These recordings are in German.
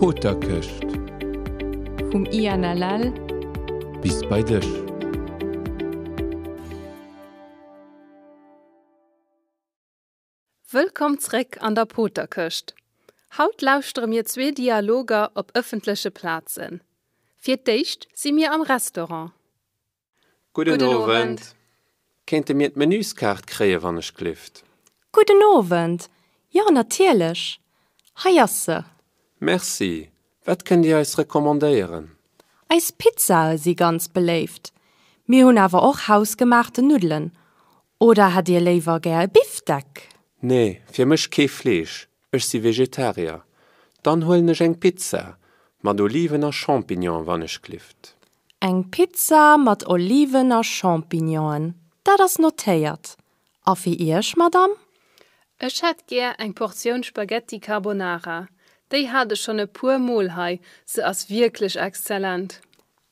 Potterköcht vum Ianalal bis bei Dich. Wëllkommensreck an der Poterköcht. Haut lauschtre mir zwee Dialoger op ëffensche Plazen. Fir d'éicht si mir am Restaurant. Guten, Guten Guten Abend. Abend. Abend. Kennt ihr mir d Menüskart kree wann ich klift? Guten Abend. Ja, natürlich. Hajasse. Merci. Wat könnt ihr als rekommandieren? Als Pizza ist sie ganz belebt. Mir hun aber auch hausgemachte Nudeln. Oder hat ihr lieber gern Beefsteak? Nee, fir mech kee Fleisch. Ech si Vegetarier. Dann holnech eng Pizza, mat Oliven a Champignon wann ich klift. Eng Pizza mit Oliven und Champignonen. Da das notiert. Auf wie ihr, Madame? Ech hat ger eng Portioun Spaghetti Carbonara. Déi hatte schon e puer Molhai, se ass wirklich exzellent.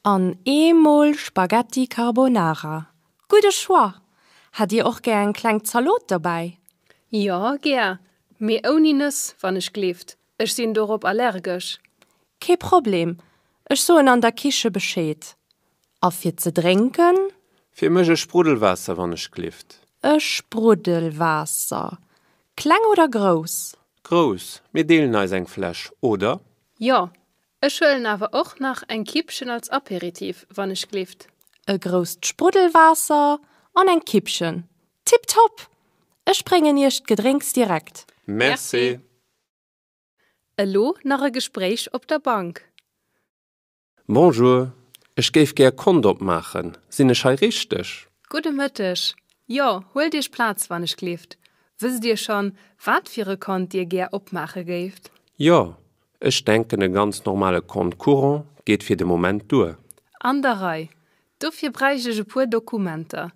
An Emol Spaghetti Carbonara. Gute Schwa. Hat ihr auch gern einen kleinen Salat dabei? Ja ger, mé oniness wann ech kleft. Ech sinn dorop allergisch. Kein Problem. Ich so in an der Küche Bescheid. Auf ihr zu trinken? Fir mege Sprudelwasser wann ich klift. E Sprudelwasser. Klang oder groß? Gros, mir deelen als eng Flasch, oder? Ja, Ech schëllen awer och nach eng Kippchen als Aperitiv, wann ech kleft. E groß Sprudelwasser und ein Kippchen. Tipptopp! Ich bringe nicht Gedrinks direkt. Merci. Merci. Merci. Elo nach e Gespräch op der Bank. Bonjour. Ich geef ger Kondop machen. Sinne schei richtig. Gute Mittag. Ja, hol dir Platz, wann ich kleft. Wisst ihr schon, wat für Kont dir ger opmache geft? Ja, ich denke, eine ganz normale Kontkurrent geht für den Moment durch. Anderei. Dafür bräuchte ich pur Dokumente.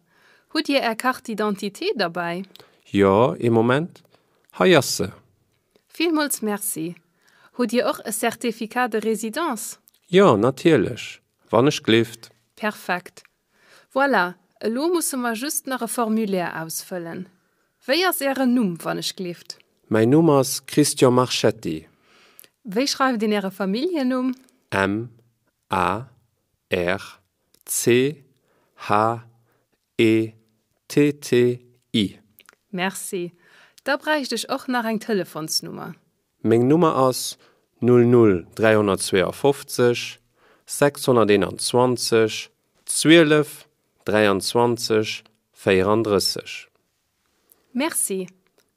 Hut ihr er Karte Identität dabei? Ja, im Moment. Hajasse. Vielmals merci. Hut ihr auch ein Zertifikat de Residenz? Ja, natürlich. Wann ich glift. Perfekt. Voilà, lo muss man just noch ein Formulär ausfüllen. Wer ist ihre Num, wann ich kleft? Mein Nummer ist Christian Marchetti. Wer schreibt in ihre Familiennum? M A R C H E T T I. Merci. Da bräuchte ich auch nach ein Telefonsnummer. Mg Nummer ass 00352 621 12 23 34. Merci.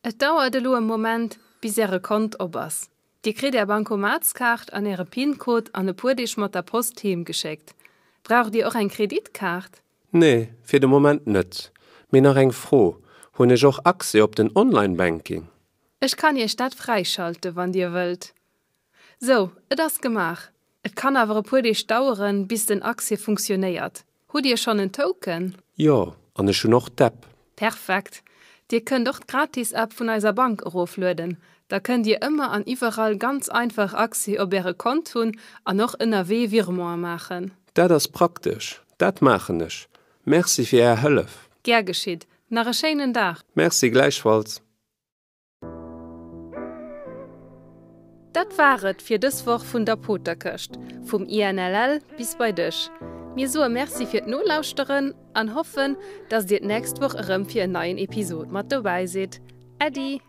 Et dauerte lo en Moment, bis er kont obers. Die kriegt der Bankomatskarte an ihre PIN-Code an eine Purdisch mit der Post heimgeschickt. Braucht ihr auch ein Kreditkarte? Nee, fir de Moment net. Min nach eng froh, hunn ech och Akse op den Online-Banking. Ich kann ihr Stadt freischalten, wann ihr wollt. So, et das gemacht. Et kann aber Purdisch dauern, bis den Aktie funktioniert. Hut ihr schon einen Token? Ja, an ech hun noch Depp. Perfekt. Dir könnt doch gratis App von eiser Bank auflöden. Da könnt ihr immer an überall ganz einfach Aktie ob ihre Konten an noch NRW Virement machen. Dat ass praktisch. Dat machenech. Merci fir er hëllef. Ger geschieht. Nach einem schönen Tag. Merci gleichfalls. Dat waret fir dës woch vun der Poterköcht, vum INLL bis bei Dich. Mir so Merci fir d' Nolauuschteren an hoffen, dats Dir d näst woch ëm fir en neuen Episod mat dobei seet. Ädi!